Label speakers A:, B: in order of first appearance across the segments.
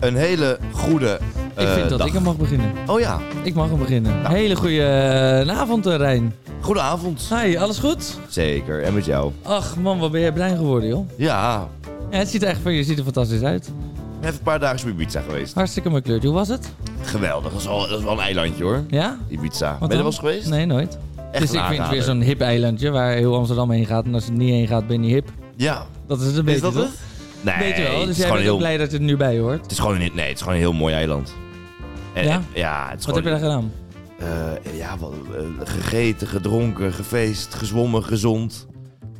A: een hele goede
B: ik
A: eh,
B: vind dat
A: dag.
B: ik hem mag beginnen.
A: Oh ja,
B: Ik mag hem beginnen.
A: Nou.
B: Hele goede eh, avond, eh, Rijn.
A: goedenavond.
B: Hi, alles goed?
A: Zeker, en met jou?
B: Ach man, wat ben jij bruin geworden, joh.
A: Ja,
B: Ja, het ziet er echt van je ziet er fantastisch uit.
A: even een paar dagen op Ibiza geweest.
B: Hartstikke mooi kleurtje. Hoe was het?
A: Geweldig, dat is wel, dat is wel een eilandje hoor.
B: Ja?
A: Ibiza. ben
B: Wat
A: je er
B: dan?
A: wel eens geweest?
B: Nee, nooit.
A: Echt
B: dus
A: een
B: ik vind het
A: aanrader.
B: weer zo'n hip eilandje waar heel Amsterdam heen gaat. En als je er niet heen gaat, ben je niet hip.
A: Ja,
B: Dat is het een
A: is
B: beetje,
A: dat
B: toch?
A: het? Nee,
B: Weet je wel,
A: het,
B: dus
A: is
B: jij
A: gewoon
B: bent
A: heel,
B: ook blij dat je er nu bij hoort.
A: het is gewoon een, nee, het is gewoon een heel mooi eiland. En-
B: Ja?
A: en- ja, het is
B: Wat heb je
A: gewoon,
B: daar gedaan?
A: eh, ja, wat, eh, gegeten, gedronken, gefeest, gezwommen, gezond.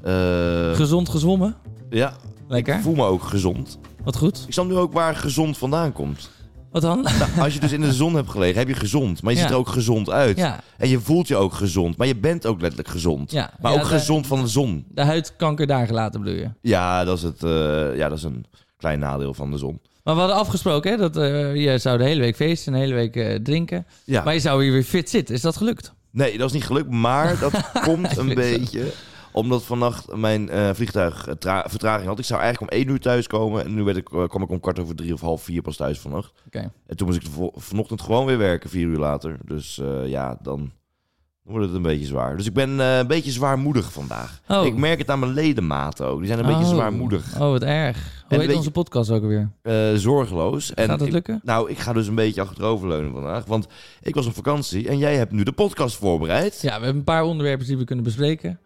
A: Eh,
B: Gezond gezwommen?
A: ja, ik
B: Lekker.
A: voel me ook gezond.
B: Wat goed.
A: Ik snap nu ook waar gezond vandaan komt.
B: Wat dan?
A: Nou, als je dus in de zon hebt gelegen, heb je gezond. Maar je
B: Ja.
A: ziet er ook gezond uit.
B: Ja,
A: En je voelt je ook gezond. Maar je bent ook letterlijk gezond.
B: ja.
A: Maar
B: Ja,
A: ook
B: de-
A: gezond van de zon.
B: De huidkanker daar gelaten bedoel je?
A: Ja dat, is het, eh, ja, dat is een klein nadeel van de zon.
B: Maar we hadden afgesproken hè, dat eh, je zou de hele week feesten, de hele week eh, drinken.
A: Ja.
B: Maar je zou hier weer fit zitten. Is dat gelukt?
A: Nee, dat is niet gelukt. Maar dat komt een
B: vind het zo.
A: beetje omdat vannacht mijn eh, vliegtuig eh, tra- vertraging had. Ik zou eigenlijk om één uur thuis komen. En nu werd ik, eh, kwam ik om kwart over drie of half vier pas thuis vannacht.
B: Oké.
A: En toen moest ik de vo- vanochtend gewoon weer werken, vier uur later. Dus eh, ja, dan wordt het een beetje zwaar. Dus ik ben eh, een beetje zwaarmoedig vandaag.
B: Oh.
A: Ik merk het aan mijn ledematen ook. Die zijn een beetje
B: Oh.
A: zwaarmoedig.
B: Oh, wat erg. Hoe
A: een
B: heet
A: beetje-
B: onze podcast ook alweer?
A: eh, zorgeloos. En
B: Gaat het
A: ik-
B: lukken?
A: nou, ik ga dus een beetje achteroverleunen vandaag. Want ik was op vakantie en jij hebt nu de podcast voorbereid.
B: Ja, we hebben een paar onderwerpen die we kunnen bespreken.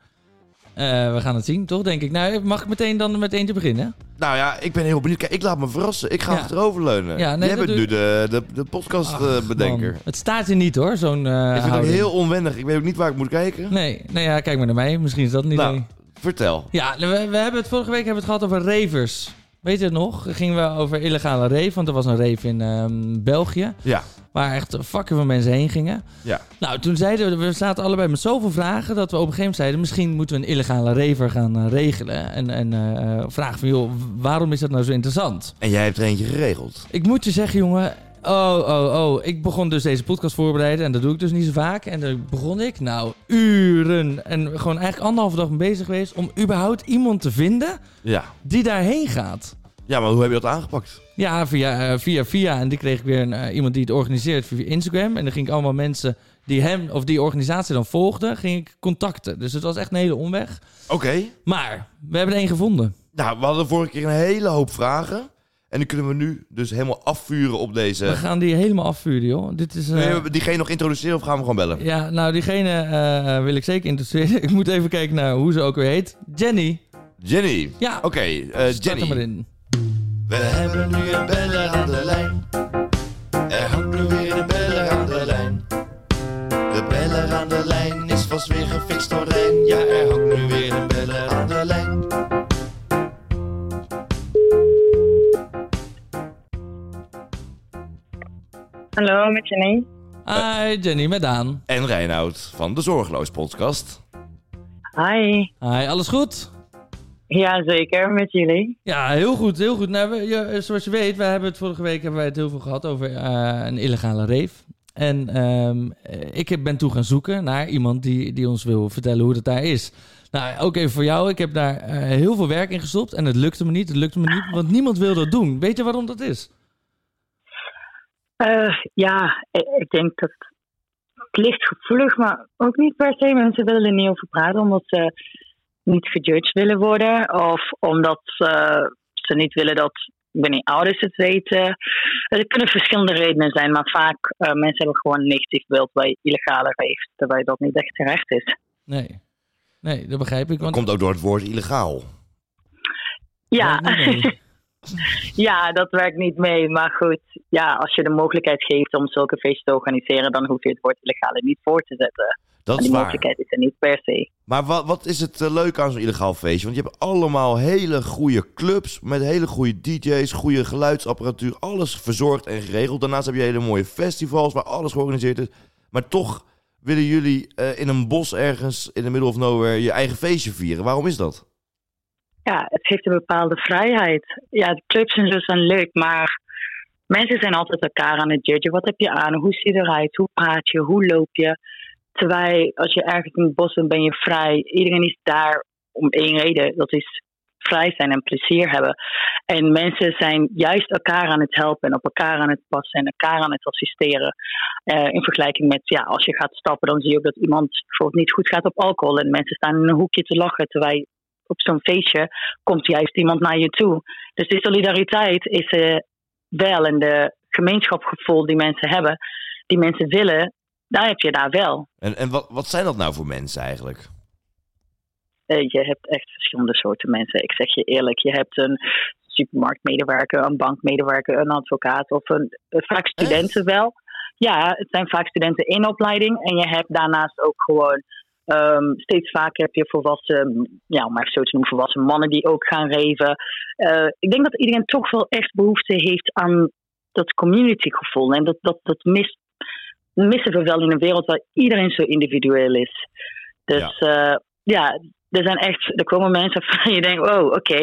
B: Eh, we gaan het zien, toch? Denk ik. Nou, mag ik meteen dan met eentje beginnen?
A: Nou ja, ik ben heel benieuwd. Kijk, ik laat me verrassen. Ik ga
B: Ja.
A: achteroverleunen.
B: Ja, nee,
A: jij
B: dat
A: bent nu de, de, de
B: Ach,
A: podcastbedenker.
B: man. Het staat je niet, hoor, zo'n eh,
A: ik vind het ook
B: houding.
A: heel onwennig. Ik weet ook niet waar ik moet kijken.
B: Nee, nou ja, kijk maar naar mij. Misschien is dat niet.
A: nou, vertel.
B: Ja, we, we hebben het vorige week hebben we het gehad over ravers. Weet je het nog? Gingen we over illegale rave, want er was een rave in ehm, België.
A: Ja,
B: Waar echt vakken van mensen heen gingen.
A: ja.
B: Nou, toen zeiden we, we zaten allebei met zoveel vragen dat we op een gegeven moment zeiden, misschien moeten we een illegale raver gaan eh, regelen. En, en eh, vragen van, joh, waarom is dat nou zo interessant?
A: En jij hebt er eentje geregeld.
B: Ik moet je zeggen, jongen. Oh, oh, oh. Ik begon dus deze podcast voorbereiden. En dat doe ik dus niet zo vaak. En dan begon ik, nou, uren. En gewoon eigenlijk anderhalve dag mee bezig geweest. om überhaupt iemand te vinden
A: Ja.
B: die daarheen gaat.
A: Ja, maar hoe heb je dat aangepakt?
B: Ja, via, eh, via, via. En die kreeg ik weer een, eh, iemand die het organiseert via Instagram. En dan ging ik allemaal mensen die hem of die organisatie dan volgden, ging ik contacten. Dus het was echt een hele omweg.
A: Oké.
B: Maar we hebben er één gevonden.
A: Nou, we hadden vorige keer een hele hoop vragen. En die kunnen we nu dus helemaal afvuren op
B: We
A: deze...
B: gaan die helemaal afvuren, joh. Dit is... eh,
A: Nee, we- diegene nog introduceren of gaan we gewoon bellen?
B: Ja, nou, diegene eh, wil ik zeker interesseren. Ik moet even kijken naar hoe ze ook weer heet. Jenny.
A: Jenny.
B: Ja,
A: Oké, eh,
B: start er maar
A: Jenny.
B: in.
A: We hebben nu een beller aan de lijn. Er hangt nu weer een beller aan de lijn. De beller aan de lijn is vast weer gefixt door Rijn. Ja, er hangt nu weer een beller aan de lijn.
C: Hallo, met Janine.
A: Eh.
B: Hi, Jenny, met Daan.
A: En Reinoud van de Zorgeloos Podcast.
C: Hi.
B: Hi, alles goed?
C: Ja, zeker, met jullie.
B: Ja, heel goed, heel goed. Nou, we, ja, zoals je weet, we hebben het vorige week hebben wij het heel veel gehad over eh, een illegale reef. En ehm, eh, ik heb- ben toe gaan zoeken naar iemand die, die ons wil vertellen hoe het daar is. Nou, ook even voor jou. Ik heb daar eh, heel veel werk in gestopt en het lukte me niet. Het lukte me niet, want niemand wil dat doen. Weet je waarom dat is?
C: Eh, ja, ik, ik denk dat het ligt gevoelig, maar ook niet per se. Mensen willen er niet over praten omdat ze niet gejudged willen worden. Of omdat ze, ze niet willen dat ik ben niet ouders het weten. Eh, Er kunnen verschillende redenen zijn, maar vaak eh mensen hebben gewoon een negatief beeld bij illegale heeft, terwijl dat niet echt terecht is.
B: Nee. Nee, dat begrijp ik.
A: Dat
B: Want
A: komt ook door het woord illegaal.
C: Ja.
B: Nee, nee, nee.
C: Ja, dat werkt niet mee. Maar goed, ja, als je de mogelijkheid geeft om zulke feesten te organiseren, dan hoef je het woord illegale niet voor te zetten.
A: Dat
C: En
A: is
C: die
A: waar.
C: mogelijkheid is er niet per se.
A: Maar wat, wat is het eh, leuke aan zo'n illegaal feestje? Want je hebt allemaal hele goede clubs met hele goede DJ's, goede geluidsapparatuur, alles verzorgd en geregeld. Daarnaast heb je hele mooie festivals waar alles georganiseerd is. Maar toch willen jullie eh, in een bos ergens in de middle of nowhere je eigen feestje vieren. Waarom is dat?
C: Ja, het geeft een bepaalde vrijheid. Ja, de clubs en zo zijn leuk, maar mensen zijn altijd elkaar aan het judgen. Wat heb je aan? Hoe zie je eruit? Hoe praat je? Hoe loop je? Terwijl als je ergens in het bos bent, ben je vrij. Iedereen is daar om één reden. Dat is vrij zijn en plezier hebben. En mensen zijn juist elkaar aan het helpen en op elkaar aan het passen en elkaar aan het assisteren. Eh, in vergelijking met, ja, als je gaat stappen, dan zie je ook dat iemand bijvoorbeeld niet goed gaat op alcohol. En mensen staan in een hoekje te lachen terwijl op zo'n feestje komt juist iemand naar je toe. Dus die solidariteit is eh, wel en de gemeenschapgevoel die mensen hebben, die mensen willen, daar heb je daar wel.
A: En, en wat, wat zijn dat nou voor mensen eigenlijk?
C: Eh, je hebt echt verschillende soorten mensen. Ik zeg je eerlijk, je hebt een supermarktmedewerker, een bankmedewerker, een advocaat of een, eh, vaak studenten wel. Ja, het zijn vaak studenten in opleiding. En je hebt daarnaast ook gewoon ehm, steeds vaker heb je volwassen, ja, om maar even zo te noemen, volwassen mannen die ook gaan reven. Eh, ik denk dat iedereen toch wel echt behoefte heeft aan dat communitygevoel. En dat, dat, dat mist, missen we wel in een wereld waar iedereen zo individueel is. Dus ja, ja er zijn echt, er komen mensen van je denkt, oh, oké.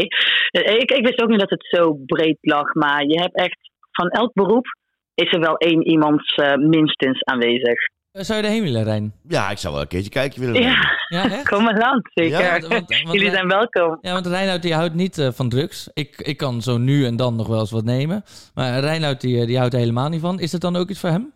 C: Eh, Ik, ik wist ook niet dat het zo breed lag, maar je hebt echt van elk beroep is er wel één iemand eh, minstens aanwezig.
B: Eh, Zou je daarheen willen, Rijn?
A: Ja, ik zou wel een keertje kijken willen nemen.
C: Ja,
B: Ja, echt?
C: kom maar land, zeker.
B: Ja, want- want- want
C: Jullie
B: wij-
C: zijn welkom.
B: Ja, want Reinoud die houdt niet eh, van drugs. Ik, ik kan zo nu en dan nog wel eens wat nemen. Maar Reinoud die, eh, die houdt er helemaal niet van. Is dat dan ook iets voor hem?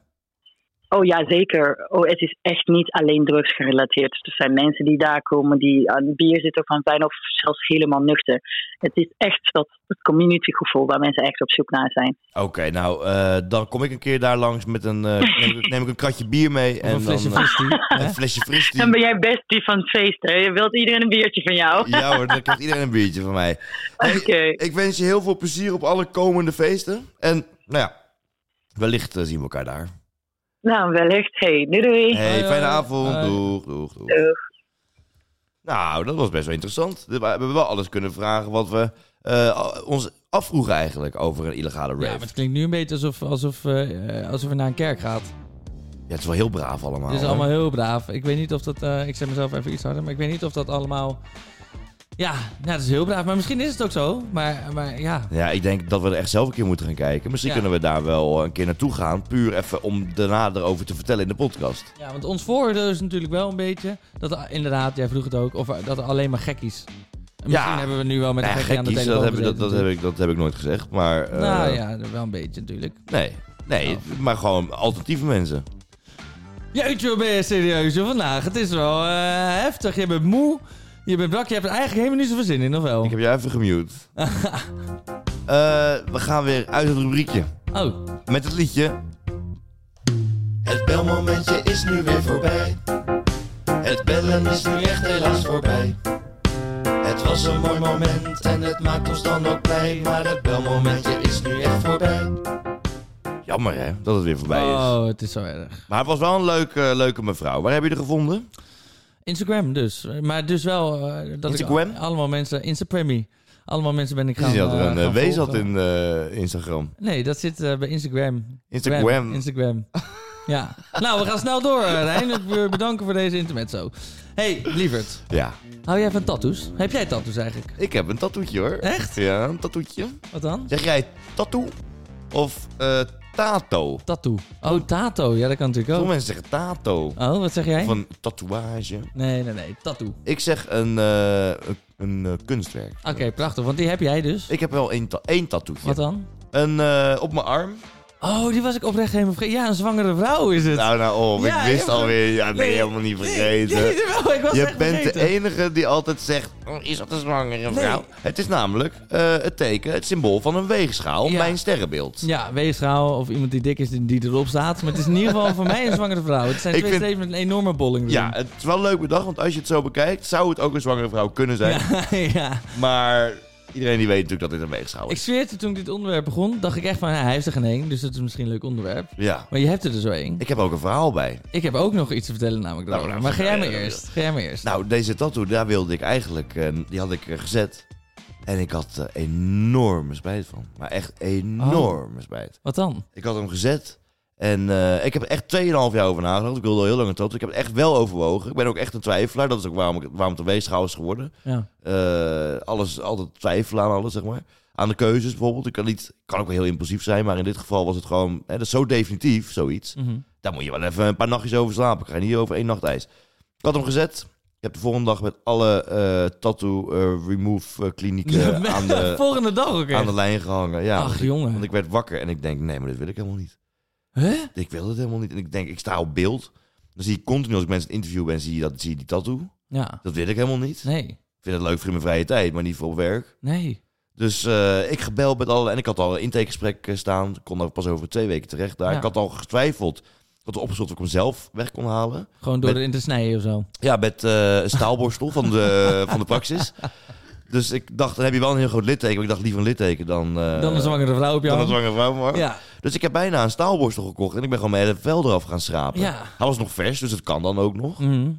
C: Oh ja, zeker. Oh, het is echt niet alleen drugs gerelateerd. Dus er zijn mensen die daar komen die aan bier zitten of aan wijn of zelfs helemaal nuchter. Het is echt dat het communitygevoel waar mensen echt op zoek naar zijn.
A: Oké, nou, eh, dan kom ik een keer daar langs met een... eh, neem, ik, neem ik een kratje bier mee
B: Of
A: en
B: een flesje
A: dan, eh,
B: fristie? Hè?
A: een flesje fristie.
C: Dan ben jij bestie van het feest, hè? Je wilt iedereen een biertje van jou.
A: Ja hoor, dan krijgt iedereen een biertje van mij.
C: Oké.
A: Ik wens je heel veel plezier op alle komende feesten. En, nou ja, wellicht eh, zien we elkaar daar.
C: Nou, wellicht. Hey, doei doei.
A: Hey,
B: Hoi,
A: fijne
B: hoi.
A: avond.
B: Hoi.
A: Doeg, doeg, doeg.
C: Doeg.
A: Nou, dat was best wel interessant. We hebben wel alles kunnen vragen wat we eh, ons afvroegen eigenlijk over een illegale rave.
B: Ja,
A: Ja,
B: maar het klinkt nu een beetje alsof, alsof, eh, eh, alsof je naar een kerk gaat.
A: het is wel heel braaf allemaal.
B: Dit is
A: hoor.
B: allemaal heel braaf. Ik weet niet of dat... eh, ik zet mezelf even iets harder, maar ik weet niet of dat allemaal... Ja, nou, dat is heel braaf. Maar misschien is het ook zo. Maar, maar ja,
A: Ja, ik denk dat we er echt zelf een keer moeten gaan kijken. Misschien
B: Ja.
A: kunnen we daar wel een keer naartoe gaan. Puur even om daarna erover te vertellen in de podcast.
B: Ja, want ons voordeel is natuurlijk wel een beetje dat er- inderdaad, jij vroeg het ook, of er- dat er alleen maar gekkies. En Misschien
A: Ja.
B: hebben we nu wel met een
A: Nou ja,
B: gekkie aan de
A: gekkies, dat
B: telefoon
A: heb, ik- dat,
B: gezeten
A: dat, heb ik, dat heb ik nooit gezegd. Maar, eh,
B: natuurlijk. Nou ja, wel een beetje natuurlijk.
A: nee, nee maar gewoon alternatieve mensen.
B: Jeetje, wat ben je serieus joh, vandaag? Het is wel eh, heftig. Je bent moe, je bent brak, je hebt er eigenlijk helemaal niet zoveel zin in, of wel?
A: Ik heb jou even gemute. Eh, we gaan weer uit het rubriekje.
B: Oh,
A: Met het liedje. Het belmomentje is nu weer voorbij. Het bellen is nu echt helaas voorbij. Het was een mooi moment en het maakt ons dan ook blij. Maar het belmomentje is nu echt voorbij. Jammer hè, dat het weer voorbij is.
B: oh, het is zo erg.
A: Maar het was wel een leuke, leuke mevrouw. Waar heb je er gevonden?
B: Instagram dus. Maar dus wel eh, dat
A: Instagram?
B: ik allemaal mensen, Instagrammy. Allemaal mensen ben ik
A: Die
B: gaan,
A: had er
B: eh,
A: een
B: gaan
A: eh, wees had
B: volgen.
A: in eh, Instagram.
B: Nee, dat zit eh, bij Instagram.
A: Instagram.
B: Gram, Instagram. ja. Nou, we gaan snel door, eh, Rijn. Ik wil je bedanken voor deze intermezzo. Hey, lieverd.
A: Ja,
B: Hou jij van tattoos? Heb jij tattoos eigenlijk?
A: ik heb een tattoetje hoor.
B: Echt?
A: Ja, een tattoetje.
B: Wat dan?
A: Zeg jij tattoo of eh, tato?
B: Tattoo. Oh, tato. Ja, dat kan natuurlijk
A: Veel
B: ook.
A: mensen zeggen tato.
B: Oh, wat zeg jij?
A: Van tatoeage.
B: Nee, nee, nee. Tattoo. Oké,
A: Ik zeg een, eh, een, een, eh, kunstwerk.
B: prachtig. Want die heb jij dus.
A: Ik heb wel één, ta één tattoetje.
B: Wat dan?
A: Een eh, op mijn arm.
B: Oh, die was ik oprecht helemaal vergeten. Ja, een zwangere vrouw is het.
A: Nou, nou, oh, ik
B: Ja,
A: wist
B: je-
A: alweer. Ja, ben je helemaal niet vergeten.
B: Nee, jawel, ik was
A: je
B: echt
A: bent
B: vergeten.
A: de enige die altijd zegt, oh, is dat een zwangere vrouw? Het is namelijk eh, het teken, het symbool van een weegschaal,
B: Ja.
A: mijn sterrenbeeld.
B: Ja, weegschaal of iemand die dik is die- die erop staat. Maar het is in ieder geval voor mij een zwangere vrouw. Het zijn
A: Ik
B: twee
A: vind-
B: strepen met een enorme bolling. erin.
A: Ja, het is wel leuk bedacht, want als je het zo bekijkt, zou het ook een zwangere vrouw kunnen zijn.
B: Ja, ja.
A: Maar iedereen die weet natuurlijk dat dit een weegschaal
B: Ik
A: is.
B: zweer het je, toen ik dit onderwerp begon, dacht ik echt van, nou, hij heeft er geen één, dus dat is misschien een leuk onderwerp.
A: Ja,
B: Maar je hebt er dus er zo één. Ik,
A: ik heb ook een verhaal bij.
B: heb ook nog iets te vertellen namelijk
A: Nou,
B: daarover.
A: nou,
B: maar ga jij
A: nou,
B: maar
A: ja,
B: eerst. Ga jij maar eerst.
A: Nou, deze tattoo, daar wilde ik eigenlijk, eh, die had ik eh, gezet. En ik had eh, enorme spijt van. Maar echt enorme
B: Oh.
A: spijt.
B: Wat dan?
A: Ik had hem gezet. En eh, ik heb er echt 2,5 jaar over nagedacht. Ik wilde al heel lang een tattoo. Ik heb het echt wel overwogen. Ik ben ook echt een twijfelaar. Dat is ook waarom, ik, waarom het een weegschaal is geworden.
B: Ja.
A: Eh, alles, altijd twijfelen aan alles, zeg maar. Aan de keuzes bijvoorbeeld. Ik kan, niet, kan ook wel heel impulsief zijn, maar in dit geval was het gewoon... Hè, dat is zo definitief, zoiets.
B: Mhm.
A: Daar moet je wel even een paar nachtjes over slapen. Ik ga niet over één nacht ijs. Ik had hem gezet. Je hebt de volgende dag met alle eh, tattoo eh, remove eh, klinieken aan, de,
B: Volgende dag ook
A: aan
B: echt.
A: de lijn gehangen. Ja, want
B: Ach,
A: ik-
B: jongen.
A: want ik werd wakker en ik denk, nee, maar dit wil ik helemaal niet.
B: Hè?
A: Ik wil dit helemaal niet. En ik denk, ik sta op beeld. Dan zie ik continu als ik mensen in het interview ben, zie je, dat, zie je die tattoo.
B: Ja.
A: Dat wil ik helemaal niet.
B: Nee.
A: Ik vind het leuk voor in mijn vrije tijd, maar niet voor op werk.
B: Nee.
A: Dus eh, ik gebeld met alle... En ik had al een intakegesprek eh, staan. Ik kon daar pas over twee weken terecht daar.
B: Ja.
A: Ik had al getwijfeld. Ik had opgezocht of ik hem zelf weg kon halen.
B: Gewoon door
A: Met-
B: erin te snijden of zo.
A: Ja, met eh, een staalborstel van de, van de praxis. Dus ik dacht, dan heb je wel een heel groot litteken. Maar ik dacht, liever een litteken dan... eh,
B: dan een zwangere vrouw op jou.
A: dan een zwangere vrouw, maar.
B: Ja.
A: Dus ik heb bijna een staalborstel gekocht. En ik ben gewoon mijn hele vel eraf gaan schrapen.
B: Ja.
A: Hij was nog vers, dus dat kan dan ook nog.
B: Mhm.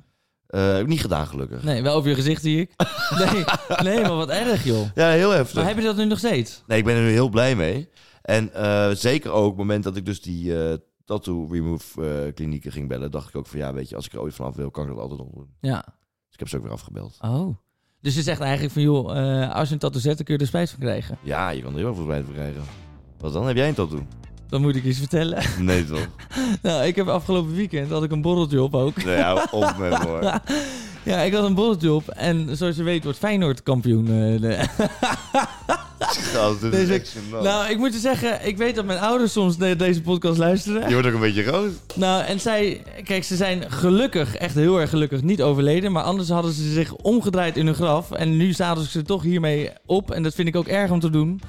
A: Eh, heb ik niet gedaan, gelukkig.
B: Nee, wel over je gezicht zie ik. Nee, nee maar wat erg, joh.
A: Ja, heel heftig.
B: Maar heb je Oh, dat nu nog steeds?
A: Nee, ik ben er nu heel blij mee. En eh, zeker ook het moment dat ik dus die eh, tattoo remove eh, klinieken ging bellen, dacht ik ook van ja, weet je, als ik er ooit vanaf wil, kan ik dat altijd nog doen.
B: Ja.
A: Dus ik heb ze ook weer afgebeld.
B: Oh. Dus je zegt eigenlijk van, joh, eh, als je een tattoo zet, dan kun je er spijt van krijgen.
A: Ja, je kan er heel veel spijt voor krijgen. Wat dan? Heb jij een tattoo?
B: Dan moet ik iets vertellen.
A: Nee toch?
B: Nou, ik heb afgelopen weekend, had ik een borreltje op ook.
A: Nee, hou op met me hoor.
B: Ja, ik had een borreltje op. En zoals je weet wordt Feyenoord kampioen. eh, de-
A: Gast, dit is
B: Deze-
A: echt gênant.
B: Nou, ik moet je zeggen, ik weet dat mijn ouders soms de- deze podcast luisteren.
A: Je wordt ook een beetje rood.
B: Nou, en zij, kijk, ze zijn gelukkig, echt heel erg gelukkig, niet overleden. Maar anders hadden ze zich omgedraaid in hun graf. En nu zaten ze toch hiermee op. En dat vind ik ook erg om te doen.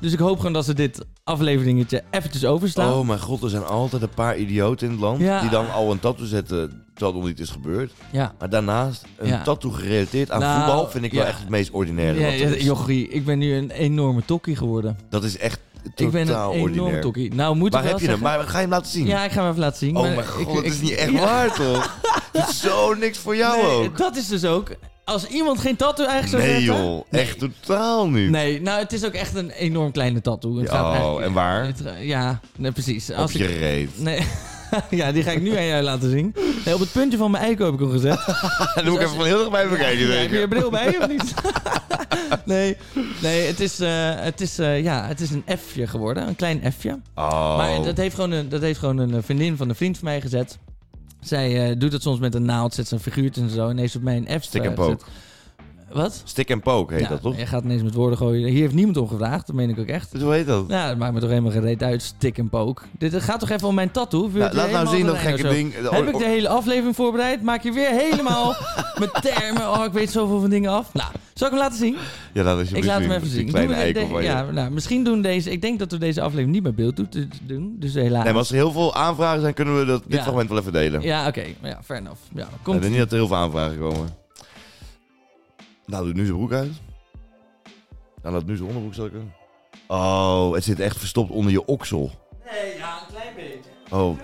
B: Dus ik hoop gewoon dat ze dit afleveringetje eventjes overslaan.
A: Oh mijn god, er zijn altijd een paar idioten in het land
B: Ja.
A: die dan al een tattoo zetten terwijl het nog niet is gebeurd.
B: Ja.
A: Maar daarnaast, een
B: Ja.
A: tattoo gerelateerd aan
B: Nou,
A: voetbal vind ik wel
B: ja.
A: echt het meest ordinaire.
B: Ja,
A: wat er
B: ja,
A: is.
B: jochie, ik ben nu een enorme tokkie geworden.
A: Dat is echt totaal
B: ik ben een enorme
A: ordinair.
B: tokkie. Nou, moet ik
A: Waar
B: wel
A: heb je hem?
B: zeggen-
A: Maar ga je hem laten zien?
B: Ja, ik ga hem even laten zien.
A: oh
B: maar
A: mijn god,
B: ik-
A: dat
B: ik-
A: is niet echt
B: Ja.
A: waar toch? Dat is zo niks voor jou
B: Nee,
A: ook.
B: Dat is dus ook. Als iemand geen tattoo eigenlijk zou
A: Nee
B: zetten-
A: joh, echt totaal niet.
B: Nee, nou het is ook echt een enorm kleine tattoo. Het staat
A: Ja, oh,
B: eigenlijk-
A: en waar?
B: Het, eh, Ja, nee, precies.
A: Op
B: Als
A: je
B: ik,
A: reet.
B: nee, ja, die ga ik nu aan jou laten zien. Nee, op het puntje van mijn eikel heb ik hem gezet.
A: Dan moet ik even van heel dichtbij bekijken
B: dus Ja, heb je
A: zeker.
B: je bril bij of niet? nee, nee het, is, eh, het, is, eh, ja, het is een F'je geworden. Een klein F'je. Maar
A: Oh,
B: dat heeft, gewoon een, dat heeft gewoon een eh, vriendin van een vriend van mij gezet. Zij eh, doet dat soms met een naald, zet zijn figuurtjes en zo. En heeft op mij een F
A: stick
B: en
A: and poke.
B: Wat?
A: Stick and poke heet
B: Ja,
A: dat toch?
B: Je gaat ineens met woorden gooien. Hier heeft niemand om gevraagd, dat meen ik ook echt.
A: Dus hoe heet dat?
B: Nou, dat maakt me toch helemaal gereed uit. Stik en pook. Dit het gaat toch even om mijn tattoo? Wil je
A: Nou,
B: het
A: laat
B: helemaal
A: nou zien dat
B: erin of
A: gekke
B: zo?
A: ding. Oh,
B: Heb ik de hele aflevering voorbereid? Maak je weer helemaal met termen. Oh, ik weet zoveel van dingen af. Nou, zal ik hem laten zien?
A: Ja, laat
B: Ik
A: alsjeblieft
B: laat hem
A: zien.
B: even
A: Die
B: zien.
A: Kleine
B: Doen we de-
A: eikel van
B: de-
A: je.
B: ja, nou, misschien doen deze... Ik denk dat we deze aflevering niet met beeld doet- doen. Dus helaas.
A: Nee, maar als er heel veel aanvragen zijn, kunnen we dat, dit
B: Ja.
A: fragment wel even delen.
B: Ja, oké. Ja, fair enough. Ja,
A: Ik
B: komt.
A: denk niet dat er heel veel aanvragen komen. Nou, doet nu zijn broek uit. Nou, laat nu zijn onderbroek zakken. Oh, het zit echt verstopt onder je oksel.
B: Nee, ja, een klein beetje.
A: Oh.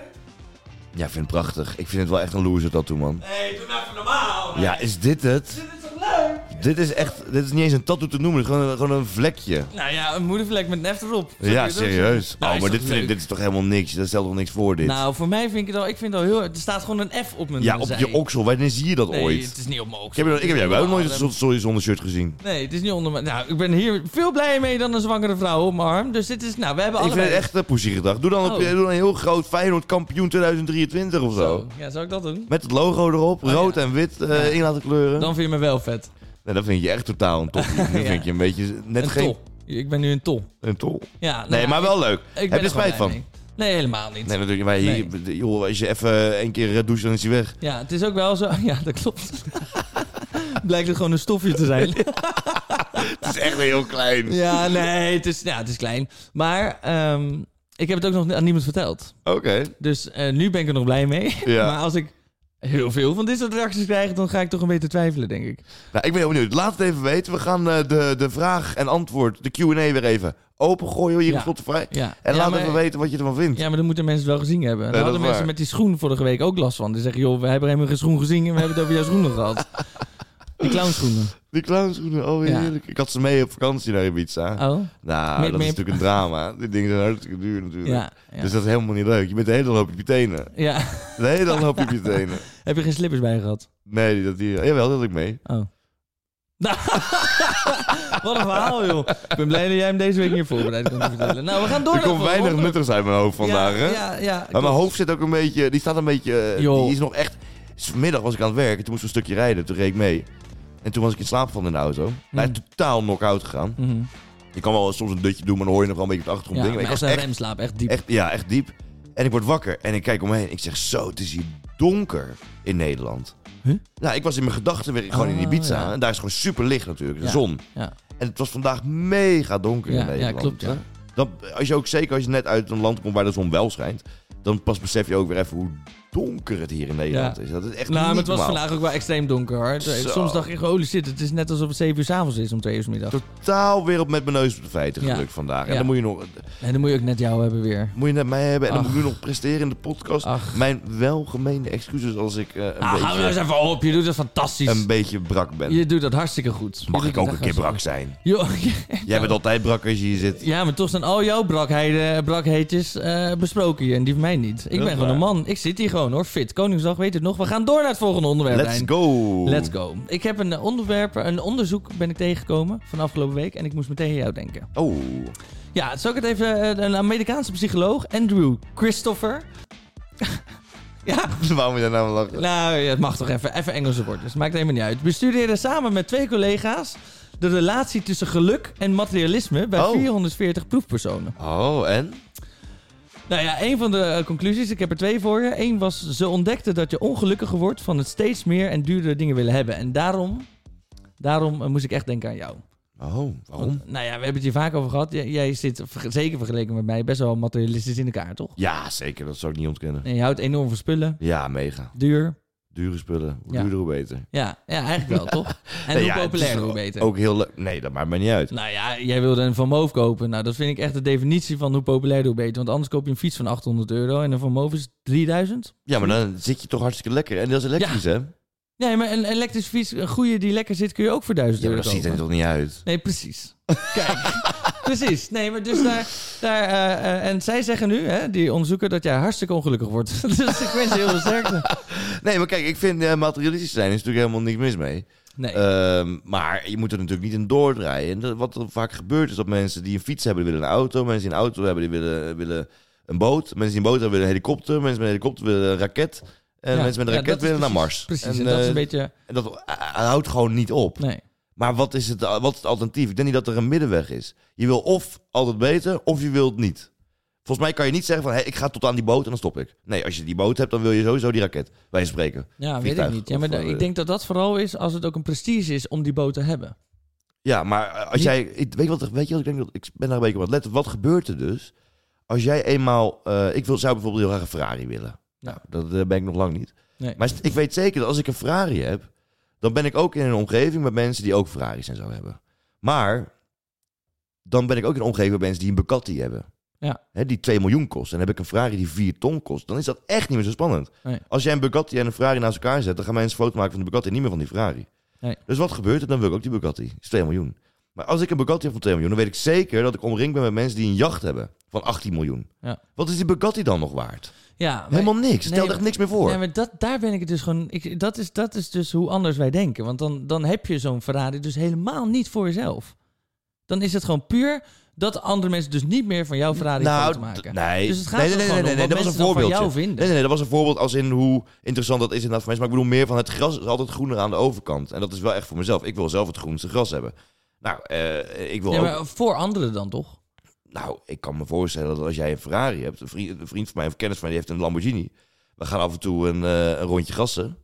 A: Ja, ik vind het prachtig. Ik vind het wel echt een loser tattoo, man.
B: Nee, doe nou even normaal.
A: Ja, is dit het?
B: Dit is toch leuk?
A: Dit is echt... Dit is niet eens een tattoo te noemen. Het is gewoon, gewoon een vlekje.
B: Nou ja, een moedervlek met een F erop. Zo kun je
A: Ja,
B: het ook
A: serieus.
B: zeggen. Nou,
A: Oh,
B: is
A: maar dit,
B: dat
A: vind ik,
B: leuk?
A: dit is toch helemaal niks? Dat stelt toch niks voor, dit?
B: Nou, voor mij vind ik het al... Ik vind het al heel... Er staat gewoon een F op mijn
A: Ja, op
B: zij.
A: je oksel. Wanneer zie je dat
B: Nee,
A: ooit?
B: het is niet op mijn
A: Ik
B: oksel.
A: heb, ik heb jij wel nooit een
B: onder
A: soort sorry zonder shirt gezien.
B: Nee, het is niet onder mijn... Nou, ik ben hier veel blijer mee dan een zwangere vrouw op mijn arm. Dus dit is... Nou, we hebben
A: Ik vind
B: allebei...
A: het echt een poesiegedrag. Doe dan, op,
B: Oh.
A: doe dan een heel groot Feyenoord kampioen 2023 of zo.
B: Zo. Ja, zou ik dat doen?
A: Met het logo erop,
B: Oh,
A: rood
B: ja.
A: en wit eh,
B: Ja.
A: in laten kleuren.
B: Dan vind je me wel vet.
A: Nee, dat vind je echt totaal een top. Nu vind je een beetje net
B: Een
A: geen...
B: tol. Ik ben nu een tol.
A: Een tol.
B: Ja, nou
A: Nee,
B: ja,
A: maar
B: ik-
A: wel leuk.
B: ik ben
A: Heb je
B: er
A: spijt
B: gewoon
A: van?
B: blij mee. Nee, helemaal niet.
A: Nee, natuurlijk. Maar hier, joh, als je even een keer eh, doucht, dan is hij weg.
B: Ja, het is ook wel zo... Ja, dat klopt. Blijkt het gewoon een stofje te zijn.
A: Het is echt weer heel klein.
B: Ja, nee, het is, ja, het is klein. Maar ehm, ik heb het ook nog ni- aan niemand verteld.
A: Oké.
B: Dus eh, nu ben ik er nog blij mee.
A: Ja.
B: Maar als ik heel veel van dit soort reacties krijg, dan ga ik toch een beetje twijfelen, denk ik.
A: Nou, ik ben heel benieuwd. Laat het even weten. We gaan eh, de, de vraag en antwoord, de Q&A weer even opengooien hier
B: Ja.
A: op Spotify.
B: Ja.
A: En
B: ja,
A: laat
B: maar,
A: even weten wat je ervan vindt.
B: Ja, maar dan moeten mensen het wel gezien hebben. Daar
A: dat
B: hadden
A: is
B: mensen
A: waar.
B: met die schoen vorige week ook last van. Die zeggen, joh, we hebben helemaal geen schoen gezien en we hebben het over jouw schoenen gehad. Die clownschoenen.
A: Die clownschoenen, oh
B: Ja.
A: heerlijk. Ik had ze mee op vakantie naar Ibiza.
B: Oh,
A: Nou,
B: Mip,
A: dat is
B: mip.
A: natuurlijk een drama. Die dingen zijn hartstikke duur natuurlijk.
B: ja. ja.
A: Dus dat is helemaal niet leuk. Je bent de hele dag op je tenen.
B: ja.
A: De hele dag op je tenen.
B: Heb je geen slippers bij je gehad?
A: Nee, die- dat hier. Jawel, dat had ik mee.
B: Oh. Nou, Wat een verhaal, joh. Ik ben blij dat jij hem deze week hier voorbereid kon vertellen. Nou, we gaan door.
A: Er
B: naar
A: komt weinig
B: volgende.
A: nuttigs uit mijn hoofd vandaag, hè?
B: Ja, ja, ja,
A: maar mijn
B: klopt.
A: hoofd zit ook een beetje... Die staat een beetje... eh,
B: Joh.
A: Die is nog echt... Vanmiddag was ik aan het werken, toen moest ik een stukje rijden, toen reed ik mee. En toen was ik in slaap van in de auto.
B: Hmm.
A: Hij is totaal knock-out gegaan.
B: Mhm.
A: Je kan wel soms een dutje doen, maar dan hoor je nog wel een beetje op de
B: Ja,
A: achtergrond dingen. Maar
B: maar
A: ik
B: als
A: was
B: een
A: echt,
B: rem slaapt, echt diep.
A: echt, ja, echt diep. En ik word wakker en ik kijk om me heen. Ik zeg, zo, het is hier donker in Nederland.
B: Huh?
A: Nou, ik was in mijn gedachten weer gewoon in
B: Oh,
A: Ibiza.
B: ja.
A: En daar is gewoon super licht natuurlijk, de
B: Ja.
A: zon.
B: Ja,
A: En het was vandaag mega donker in
B: ja, ja
A: Nederland.
B: klopt. Ja.
A: Dan, als je ook zeker als je net uit een land komt waar de zon wel schijnt, dan pas besef je ook weer even hoe donker het hier in Nederland
B: Ja.
A: is. Dat is echt
B: Nou, maar
A: niet
B: het was
A: normaal.
B: vandaag ook wel extreem donker hoor.
A: Zo.
B: Soms dacht ik, holy shit, het is net alsof het 7 uur s'avonds is om 2 uur 's middag.
A: Totaal weer op met mijn neus op de feiten
B: Ja.
A: gelukt vandaag. En
B: Ja.
A: dan moet je, nog,
B: En dan moet je ook net jou hebben weer.
A: moet je net mij hebben en dan
B: Ach.
A: moet ik nu nog presteren in de podcast.
B: Ach.
A: Mijn welgemeende excuses als ik eh, een,
B: Ah, hou nou eens
A: beetje,
B: even op, je doet dat fantastisch.
A: een beetje brak ben.
B: Je doet dat hartstikke goed. Je
A: Mag
B: doet
A: ik
B: dat
A: ook een
B: echt
A: keer brak
B: hartstikke
A: zijn?
B: goed. Jo,
A: Jij bent altijd brak als je hier zit.
B: Ja, maar toch zijn al jouw brakheden, brakheetjes eh, besproken hier. En die van mij niet. Ik
A: Dat
B: ben
A: is
B: gewoon een
A: waar.
B: man. Ik zit hier gewoon hoor. Fit. Koningsdag weet het nog. We gaan door naar het volgende onderwerp.
A: Let's
B: Rijn.
A: go!
B: Let's go. Ik heb een eh, onderwerp, een onderzoek ben ik tegengekomen van afgelopen week. En ik moest meteen aan jou denken.
A: Oh,
B: Ja, zal ik het even... eh, Een Amerikaanse psycholoog, Andrew Christopher. ja,
A: waarom je daar nou lachen?
B: nou, ja, het mag toch even, even Engelse woordjes. Maakt helemaal niet uit. Bestudeerde samen met twee collega's de relatie tussen geluk en materialisme bij
A: Oh.
B: 440 proefpersonen.
A: Oh, en?
B: Nou ja, een van de eh, conclusies, ik heb er twee voor je. Eén was, ze ontdekten dat je ongelukkiger wordt van het steeds meer en duurdere dingen willen hebben. En daarom, daarom eh, moest ik echt denken aan jou.
A: Oh, waarom?
B: Want, nou ja, we hebben het hier vaak over gehad. J- jij zit, ver- zeker vergeleken met mij, best wel materialistisch in elkaar, toch?
A: Ja, zeker. Dat zou ik niet ontkennen.
B: En je houdt enorm van spullen,
A: Ja, mega.
B: duur.
A: Dure spullen. Hoe
B: Ja.
A: duurder, hoe beter.
B: Ja, ja eigenlijk wel, toch? En
A: Nee,
B: hoe
A: ja, het is
B: populairder,
A: toch
B: hoe beter.
A: Ook heel leuk. Nee, dat maakt mij niet uit.
B: Nou ja, jij wilde een Van Moof kopen. Nou, dat vind ik echt de definitie van hoe populair hoe beter. Want anders koop je een fiets van 800 euro en een Van Moof is 3000.
A: Ja, maar dan zit je toch hartstikke lekker. En dat is elektrisch, hè?
B: Nee, maar een elektrische fiets, een goede die lekker zit, kun je ook voor
A: Ja,
B: 1000
A: maar
B: euro
A: dat ziet
B: kopen.
A: er toch niet uit?
B: Nee, precies. Kijk, precies. Nee, maar dus daar... daar eh, eh, en zij zeggen nu, hè, die onderzoeker, dat jij hartstikke ongelukkig wordt. dus ik wens je heel veel sterkte.
A: Nee, maar kijk, ik vind eh, materialistisch zijn is natuurlijk helemaal niks mis mee.
B: Nee.
A: Ehm, maar je moet er natuurlijk niet in doordraaien. En dat- wat er vaak gebeurt is dat mensen die een fiets hebben, die willen een auto. Mensen die een auto hebben, die willen, willen een boot. Mensen die een boot hebben, willen een helikopter. Mensen met een helikopter willen een raket. En
B: Ja,
A: mensen met een
B: ja,
A: raket
B: dat is
A: willen naar
B: precies-
A: Mars.
B: Precies, en,
A: en,
B: dat is een
A: eh,
B: beetje...
A: en dat eh, houdt gewoon niet op.
B: Nee.
A: Maar wat is, het, wat is het alternatief? Ik denk niet dat er een middenweg is. Je wil of altijd beter, of je wilt niet. Volgens mij kan je niet zeggen van, hé, ik ga tot aan die boot en dan stop ik. Nee, als je die boot hebt, dan wil je sowieso die raket. Wij spreken.
B: Ja, weet ik
A: Vliegtuig
B: niet. Ja, maar
A: of,
B: da-
A: eh,
B: ik denk dat dat vooral is als het ook een prestige is om die boot te hebben.
A: Ja, maar eh, als
B: Ja.
A: jij... ik- Weet je wat, weet je wat ik denk? dat- Ik ben daar een beetje op aan het letten. Wat gebeurt er dus als jij eenmaal... eh, ik wil, zou bijvoorbeeld heel graag een Ferrari willen.
B: Nou.
A: Nou, dat eh, ben ik nog lang niet.
B: Nee.
A: Maar st- ik weet zeker dat als ik een Ferrari heb... dan ben ik ook in een omgeving met mensen die ook Ferraris en zo hebben. Maar dan ben ik ook in een omgeving met mensen die een Bugatti hebben.
B: Ja.
A: Hè, die 2 miljoen kost. En dan heb ik een Ferrari die 4 ton kost. Dan is dat echt niet meer zo spannend.
B: Nee.
A: Als jij een Bugatti en een Ferrari naast elkaar zet... dan gaan mensen een foto maken van de Bugatti en niet meer van die Ferrari.
B: Nee.
A: Dus wat gebeurt er? Dan wil ik ook die Bugatti. Dat is 2 miljoen. Maar als ik een Bugatti heb van 2 miljoen... dan weet ik zeker dat ik omringd ben met mensen die een jacht hebben van 18 miljoen.
B: Ja.
A: Wat is die Bugatti dan nog waard?
B: Ja, maar-
A: Helemaal niks. Stel
B: maar-
A: echt niks meer voor.
B: Nee, maar dat, daar ben ik het dus gewoon. Ik, dat, is, dat is dus hoe anders wij denken. Want dan, dan heb je zo'n Ferrari dus helemaal niet voor jezelf. Dan is het gewoon puur dat andere mensen dus niet meer van jouw Ferrari nou, te maken.
A: d- Nee,
B: Dus het gaat
A: nee, nee,
B: er
A: nee,
B: gewoon
A: nee,
B: om
A: nee,
B: wat
A: dat was een
B: mensen dan van
A: voorbeeld.
B: jou vinden.
A: Nee, nee, nee, dat was een voorbeeld als in hoe interessant dat is inderdaad voor mensen. Maar ik bedoel meer van het gras is altijd groener aan de overkant. En dat is wel echt voor mezelf. Ik wil zelf het groenste gras hebben. Nou, eh, ik wil
B: Ja,
A: ook-
B: maar voor anderen dan toch?
A: nou, ik kan me voorstellen dat als jij een Ferrari hebt, een vriend, een vriend van mij of een kennis van mij, die heeft een Lamborghini. We gaan af en toe een, eh, een rondje gassen.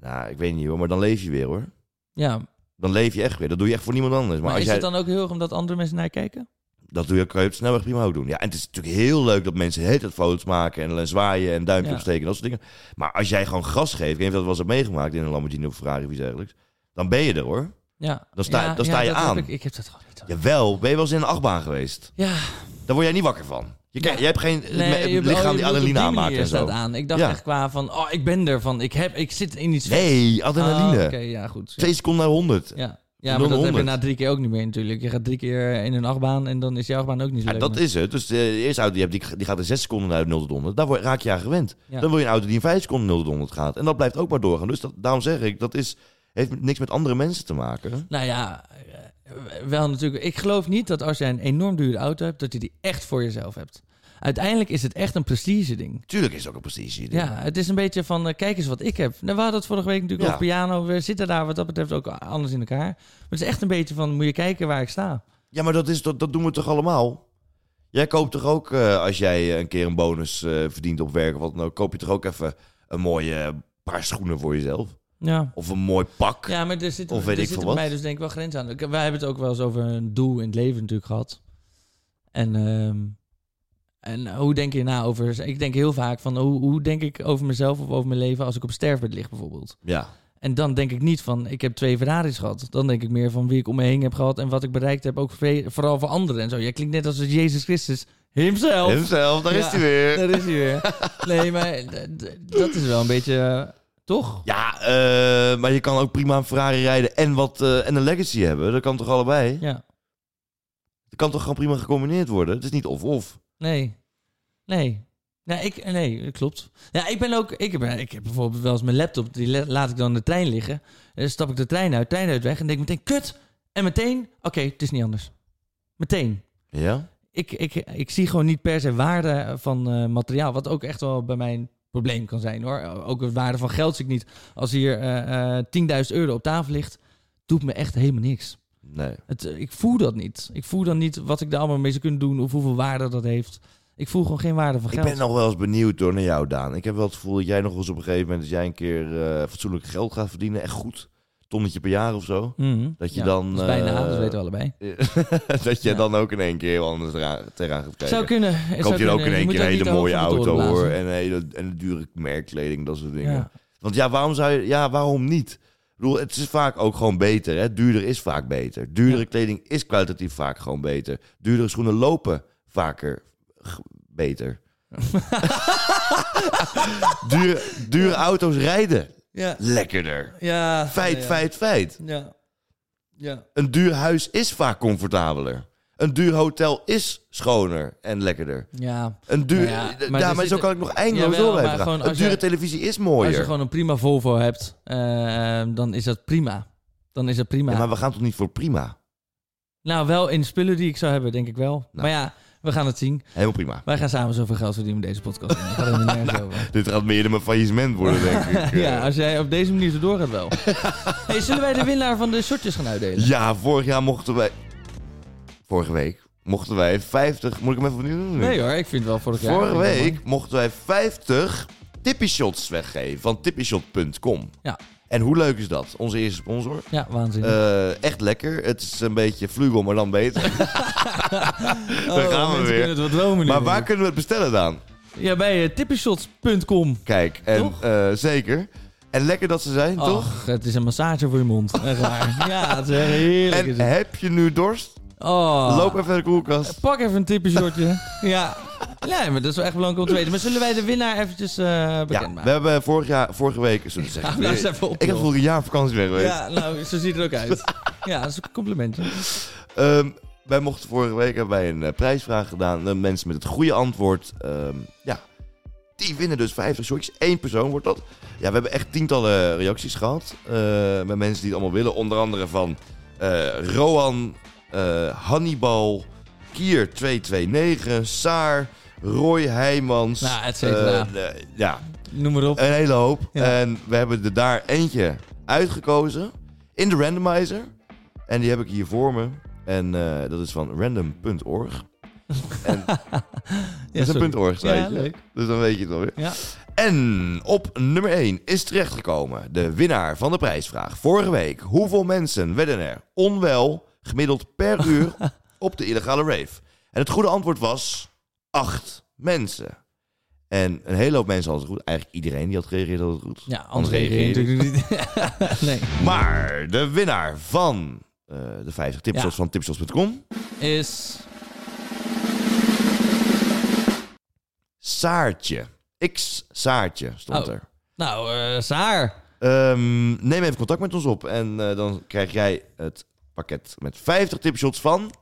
A: Nou, ik weet niet hoor, maar dan leef je weer hoor.
B: Ja, maar,
A: Dan leef je echt weer. Dat doe je echt voor niemand anders. Maar, als
B: is
A: jij...
B: het dan ook heel erg omdat andere mensen naar je kijken?
A: Dat doe je, kan je op de snelweg prima ook doen. Ja, en het is natuurlijk heel leuk dat mensen hele tijd foto's maken... en eh, zwaaien en duimpje
B: Ja.
A: opsteken en dat soort dingen. Maar als jij gewoon gas geeft... ik weet niet of je dat wel eens hebt meegemaakt in een Lamborghini of Ferrari of iets dergelijks... dan ben je er hoor.
B: Ja,
A: Dan sta-
B: ja,
A: dan sta
B: ja,
A: je
B: dat heb
A: aan.
B: Ik, ik heb dat gewoon niet. Ja,
A: Jawel, ben je wel eens in een achtbaan geweest? Daar word jij niet wakker van. Je,
B: Ja.
A: kijkt- je hebt geen eh,
B: nee,
A: me-
B: je- oh, je
A: lichaam die
B: bedoelt op
A: adrenaline
B: manier
A: aanmaakt en
B: staat
A: zo.
B: aan. Ik dacht
A: Ja.
B: echt qua van, oh, ik ben er van. Ik, heb, ik zit in iets.
A: Nee, adrenaline.
B: Ah, Oké, ja, goed. Ja.
A: Twee seconden naar honderd.
B: Ja.
A: Van
B: Ja, maar
A: de
B: dat heb je
A: 100.
B: na drie keer ook niet meer natuurlijk. Je gaat drie keer in een achtbaan en dan is die achtbaan ook niet zo
A: Ja,
B: leuk
A: dat
B: meer.
A: is het. Dus de eerste auto die je hebt, die, die gaat in 6 seconden naar de 0 tot 100. Daar word- raak je aan gewend.
B: Ja.
A: Dan wil je een auto die in 5 seconden 0 tot 100 gaat. En dat blijft ook maar doorgaan. Dus dat, daarom zeg ik, dat is, heeft niks met andere mensen te maken.
B: Nou ja, eh, wel natuurlijk. Ik geloof niet dat als jij een enorm dure auto hebt, dat je die echt voor jezelf hebt. uiteindelijk is het echt een prestige ding.
A: Tuurlijk is het ook een prestige. idee.
B: Ja, het is een beetje van, eh, kijk eens wat ik heb. Nou, we hadden het vorige week natuurlijk
A: Ja.
B: over piano. We zitten daar wat dat betreft ook anders in elkaar. Maar het is echt een beetje van, moet je kijken waar ik sta.
A: Ja, maar dat, is, dat, dat doen we toch allemaal? Jij koopt toch ook, eh, als jij eh, een keer een bonus eh, verdient op werk of wat dan ook, koop je toch ook even een mooie eh, paar schoenen voor jezelf?
B: Ja.
A: Of een mooi pak?
B: Ja, maar er zit,
A: Of weet
B: er
A: ik
B: zit
A: veel
B: bij
A: wat.
B: mij dus denk ik wel grens aan. Ik- Wij hebben het ook wel eens over een doel in het leven natuurlijk gehad. En, ehm, en eh, hoe denk je na over... Ik denk heel vaak van hoe, hoe denk ik over mezelf of over mijn leven als ik op sterfbed lig bijvoorbeeld.
A: Ja.
B: En dan denk ik niet van ik heb twee Ferraris gehad. Dan denk ik meer van wie ik om me heen heb gehad en wat ik bereikt heb. Ook ve- vooral voor anderen en zo. Jij klinkt net als Jezus Christus himself.
A: Hemzelf, daar
B: Ja.
A: is hij weer.
B: Daar is hij weer. Nee, maar d- d- dat is wel een beetje... eh, toch?
A: Ja, eh, maar je kan ook prima een Ferrari rijden en, wat, eh, en een legacy hebben. Dat kan toch allebei?
B: Ja.
A: Dat kan toch gewoon prima gecombineerd worden? Het is niet of-of.
B: Nee. Nee. Ja, ik, nee, dat klopt. Ja, ik ben ook. Ik heb, ik heb bijvoorbeeld wel eens mijn laptop. Die la- laat ik dan in de trein liggen. Eh, Dan stap ik de trein uit, trein uit weg. En denk meteen: kut. En meteen: oké, het is niet anders. Meteen.
A: Ja?
B: Ik, ik, ik zie gewoon niet per se waarde van eh, materiaal. Wat ook echt wel bij mijn probleem kan zijn hoor. Ook de waarde van geld zie ik niet. Als hier eh, eh, 10.000 euro op tafel ligt, doet me echt helemaal niks.
A: Nee.
B: Het, eh, ik voel dat niet. Ik voel dan niet wat ik daar allemaal mee zou kunnen doen of hoeveel waarde dat heeft. Ik voel gewoon geen waarde van
A: Ik
B: geld.
A: ben nog wel eens benieuwd door naar jou, Daan. Ik heb wel het gevoel dat jij nog eens op een gegeven moment... dat jij een keer eh, fatsoenlijk geld gaat verdienen. Echt goed. Tonnetje per jaar of zo.
B: Mhm.
A: dat je
B: Ja,
A: dan,
B: Dat is bijna,
A: eh,
B: dat weten we allebei.
A: dat jij
B: Ja.
A: dan ook in één keer heel anders eraan- tegenaan gaat kijken.
B: Zou kunnen. Zou
A: Koop je
B: kunnen.
A: dan ook in één
B: eh, moet
A: keer
B: ook
A: een
B: niet
A: hele
B: te hoog
A: mooie
B: van de toren
A: auto hoor.
B: blazen.
A: En, hele, en dure merkkleding, dat soort dingen.
B: Ja.
A: Want ja, waarom zou je. Ja, waarom niet? Ik bedoel, het is vaak ook gewoon beter. Hè? Duurder is vaak beter. Duurdere
B: Ja.
A: kleding is kwalitatief vaak gewoon beter. Duurdere schoenen lopen vaker g- beter. dure, dure auto's rijden
B: Ja.
A: lekkerder.
B: Ja.
A: Feit,
B: ja.
A: feit, feit.
B: Ja. Ja.
A: Een duur huis is vaak comfortabeler. Een duur hotel is schoner en lekkerder.
B: ja.
A: Een duur,
B: Nou ja,
A: ja,
B: maar
A: maar,
B: er
A: zo
B: zitten-
A: kan ik nog eindeloos
B: Jawel,
A: door blijven
B: maar
A: gaan.
B: gewoon
A: Een
B: als
A: dure
B: je-
A: televisie is
B: Als je
A: mooier.
B: gewoon een prima Volvo hebt, eh, dan is dat prima. Dan is dat prima.
A: Ja, maar we gaan toch niet voor prima?
B: Nou, wel in spullen die ik zou hebben, denk ik wel.
A: Nou.
B: Maar ja, we gaan het zien.
A: Helemaal prima.
B: Wij gaan samen zoveel geld verdienen met deze podcast. Daar gaat helemaal nergens over.
A: Dit gaat meer dan een faillissement worden, denk ik. eh.
B: Ja, als jij op deze manier zo doorgaat wel. hey, zullen wij de winnaar van de shortjes gaan uitdelen?
A: Ja, vorig jaar mochten wij... Vorige week mochten wij 50... Moet ik hem even opnieuw doen?
B: Nee hoor, ik vind het wel vorig jaar.
A: Vorige
B: Ik vind het wel
A: week mochten wij 50 tippyshots weggeven van tippyshot.com.
B: Ja.
A: En hoe leuk is dat? Onze eerste sponsor.
B: mooi. Ja, waanzinnig.
A: Eh, echt lekker. Het is een beetje vlugel, maar dan beter. daar gaan we
B: Oh, mensen
A: weer.
B: kunnen het wat dromen nu
A: maar waar
B: weer.
A: kunnen we het bestellen dan?
B: Ja, bij uh, tippyshots.com.
A: Kijk, en,
B: Toch? Oh,
A: eh, zeker. En lekker dat ze zijn, toch?
B: Och, het is een massage voor je mond. Echt waar. ja, het is echt heerlijk.
A: En
B: is het.
A: heb je nu dorst?
B: Oh.
A: Loop even naar de koelkast.
B: Pak even een tippyshortje. ja. Ja, maar dat is wel echt belangrijk om te weten. Maar zullen wij de winnaar eventjes eh bekend
A: Ja,
B: maken?
A: we hebben vorig jaar, vorige week... Zullen we zeggen,
B: nou eens even op,
A: ik heb
B: joh.
A: vorig jaar op vakantie weg geweest.
B: Ja, nou, zo ziet het ook uit. Ja, dat is een complimentje.
A: Ehm, wij mochten vorige week hebben wij een eh, prijsvraag gedaan. De mensen met het goede antwoord, ehm, ja, die winnen dus 50 shotjes. Eén persoon wordt dat. Ja, we hebben echt tientallen reacties gehad eh, met mensen die het allemaal willen. Onder andere van eh, Roan, eh, Hannibal, Kier229, Saar, Roy Heijmans.
B: Nou, et cetera.
A: eh, eh, ja,
B: Noem maar op.
A: een hele hoop.
B: Ja.
A: En we hebben er daar eentje uitgekozen in de randomizer. En die heb ik hier voor me. En eh, dat is van random.org. En
B: Ja,
A: dat is
B: sorry.
A: een .org
B: Ja,
A: site.
B: leuk.
A: dus dan weet je het alweer.
B: Ja.
A: En op nummer 1 is terechtgekomen de winnaar van de prijsvraag. Vorige week, hoeveel mensen werden er onwel gemiddeld per uur op de illegale rave? En het goede antwoord was acht mensen. En een hele hoop mensen hadden het goed. Eigenlijk iedereen die had gereageerd had het goed.
B: Ja, anders reageer je natuurlijk niet. nee.
A: Maar de winnaar van eh, de 50 tipshots
B: Ja.
A: van tipshots.com,
B: Is...
A: Saartje. X Saartje stond
B: Oh.
A: er.
B: Nou, eh Saar.
A: Ehm, neem even contact met ons op en eh, dan krijg jij het pakket met 50 tipshots van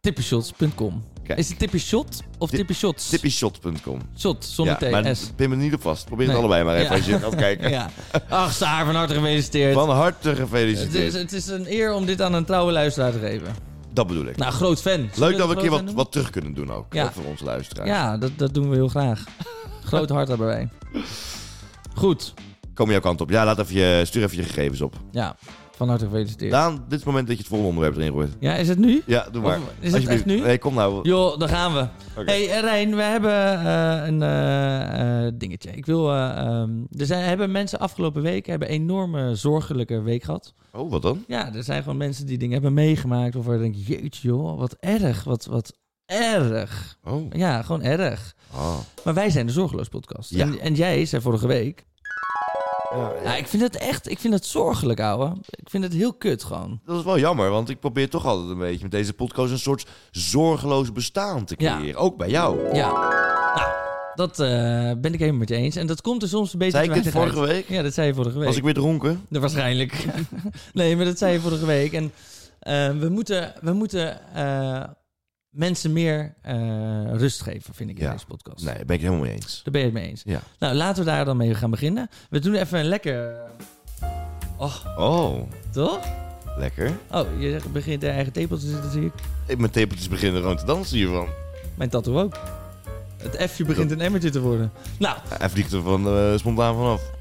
B: Tippyshots.com.
A: Kijk.
B: Is het tippyshot of
A: Tip-
B: tippyshots?
A: tippyshot.com.
B: Shot, zonder
A: Ja, maar
B: T, S.
A: pin me niet op vast. Probeer
B: Nee.
A: het allebei maar even
B: Ja.
A: als je gaat kijken.
B: Ja. Ach, Saar, van harte gefeliciteerd.
A: Van harte
B: Het is,
A: gefeliciteerd.
B: het is een eer om dit aan een trouwe luisteraar te geven.
A: Dat bedoel ik.
B: Nou, groot fan. Zullen
A: Leuk dat
B: het
A: we een
B: groot
A: keer
B: fan
A: wat,
B: noemen?
A: wat terug kunnen doen ook.
B: Ja.
A: eh, Voor onze luisteraars.
B: Ja, dat, dat doen we heel graag. Groot hart hebben wij. Goed,
A: Kom jouw kant op. Ja, laat even je, stuur even je gegevens op.
B: ja. Van harte gefeliciteerd.
A: Daan, dit is het moment dat je het volgende onderwerp erin gooit.
B: Ja, is het nu?
A: Ja, doe maar.
B: Of- is het
A: Alsjeblieft.
B: echt nu?
A: Nee, kom nou.
B: Joh, daar gaan we.
A: Oké.
B: Hey eh, Rijn, we hebben eh, een eh, eh, dingetje. Ik wil, eh, ehm, er zijn, hebben mensen afgelopen week hebben enorme zorgelijke week gehad.
A: Oh, wat dan?
B: Ja, er zijn gewoon mensen die dingen hebben meegemaakt. Of waar denk je, jeetje joh, wat erg, wat, wat erg.
A: Oh.
B: Ja, gewoon erg.
A: Ah.
B: Maar wij zijn de Zorgeloos Podcast.
A: Ja.
B: En, en jij zei vorige week.
A: Ja, ja.
B: Ja, ik vind het echt, ik vind het zorgelijk, ouwe. Ik vind het heel kut gewoon.
A: Dat is wel jammer, want ik probeer toch altijd een beetje met deze podcast een soort zorgeloos bestaan te
B: Ja.
A: creëren. Ook bij jou.
B: Ja. Nou, dat eh, ben ik helemaal met je eens. En dat komt er soms een beetje
A: Zei ik
B: te
A: dit
B: weinig uit.
A: vorige week?
B: Ja, dat zei je vorige week.
A: Was ik weer dronken?
B: Ja, waarschijnlijk. nee, maar dat zei je vorige week. En eh, we moeten, we moeten eh, mensen meer eh, rust geven, vind ik, in
A: Ja.
B: deze podcast.
A: Nee, daar ben ik het helemaal mee eens.
B: Daar ben je het mee eens.
A: Ja.
B: Nou, laten we daar dan mee gaan beginnen. We doen even een lekker... Oh,
A: Oh,
B: toch?
A: lekker.
B: Oh, je zegt, begint de eigen tepel te zitten, zie ik.
A: Ik- Mijn tepeltjes beginnen gewoon te dansen hiervan.
B: Mijn tattoo ook. Het F'je begint een emmertje te worden. Nou,
A: Hij vliegt er van, eh, spontaan vanaf.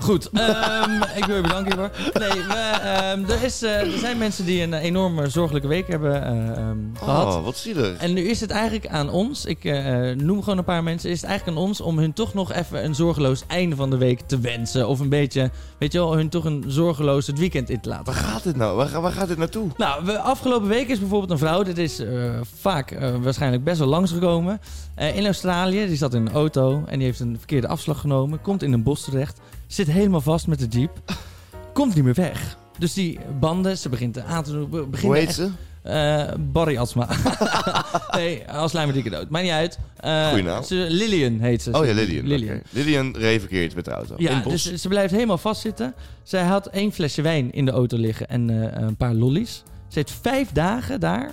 B: Goed, ehm, ik wil je bedanken hiervoor. Nee, we, ehm, er, is, eh, er zijn mensen die een eh, enorme zorgelijke week hebben eh, ehm, gehad.
A: Oh, wat zielig.
B: En nu is het eigenlijk aan ons, ik eh, eh, noem gewoon een paar mensen, is het eigenlijk aan ons om hun toch nog even een zorgeloos einde van de week te wensen. Of een beetje, weet je wel, hun toch een zorgeloos het weekend in te laten.
A: Waar gaat dit nou? Waar, ga- waar gaat dit naartoe?
B: Nou, we, afgelopen week is bijvoorbeeld een vrouw, dit is eh, vaak eh, waarschijnlijk best wel langsgekomen, eh, in Australië. Die zat in een auto en die heeft een verkeerde afslag genomen, komt in een bos terecht, zit helemaal vast met de jeep, komt niet meer weg. Dus die banden, ze begint aan te doen. be- Begint
A: Hoe heet
B: echt-
A: ze?
B: eh, Barry Asma. nee, als lijm dikke dood. Maakt niet uit. Eh,
A: Goeie naam.
B: Ze, Lillian heet ze.
A: Oh ja, Lillian.
B: Lillian.
A: Oké. Lillian reed verkeerd met de auto. In
B: Ja,
A: het bos.
B: dus ze blijft helemaal vastzitten. Zij had één flesje wijn in de auto liggen en eh, een paar lollies. Ze heeft vijf dagen daar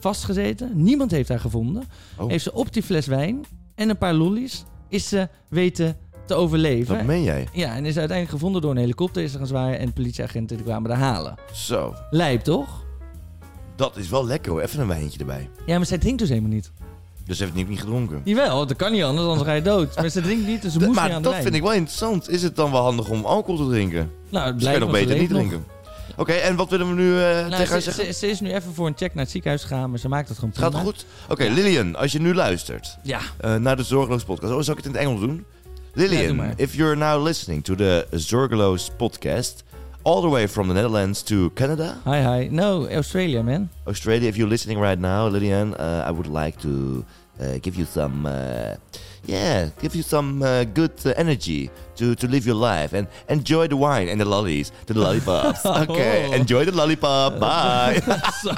B: vastgezeten. Niemand heeft haar gevonden.
A: Oh.
B: Heeft ze op die fles wijn en een paar lollies... is ze weten te overleven.
A: Wat meen jij?
B: ja, en is uiteindelijk gevonden door een helikopter. Is er gaan zwaaien en politieagenten die kwamen haar halen.
A: Zo,
B: Lijp, toch?
A: dat is wel lekker hoor. Even een wijntje erbij.
B: Ja, maar zij drinkt dus helemaal niet.
A: Dus ze heeft niet, niet gedronken.
B: Jawel, dat kan niet anders, anders ga je dood. Maar ze drinkt niet, dus ze
A: D-
B: moest niet
A: maar
B: aan de
A: dat
B: lijn.
A: vind ik wel interessant. Is het dan wel handig om alcohol te drinken?
B: Nou, het
A: Dus kan je
B: blijkt
A: nog
B: want ze
A: beter niet
B: leeft nog.
A: drinken. Oké, en wat willen we nu eh,
B: Nou,
A: tegen haar
B: ze,
A: zeggen?
B: ze- ze is nu even voor een check naar het ziekenhuis gegaan, maar ze maakt het gewoon
A: Het gaat
B: prima.
A: goed? Oké, Lillian, als je nu luistert
B: Ja,
A: eh, naar de Zorgeloos Podcast. Oh, zal ik het in het Engels doen?
B: Ja, doe
A: Lillian,
B: maar.
A: if you're now listening to the Zorgeloos Podcast, all the way from the Netherlands to Canada,
B: hi hi. No, Australia man.
A: Australia, if you're listening right now, Lillian, uh, I would like to uh, give you some, uh, yeah, give you some uh, good uh, energy to, to live your life and enjoy the wine and the lollies, the lollipops. Okay,
B: Oh.
A: enjoy the lollipop. Bye.
B: Zo.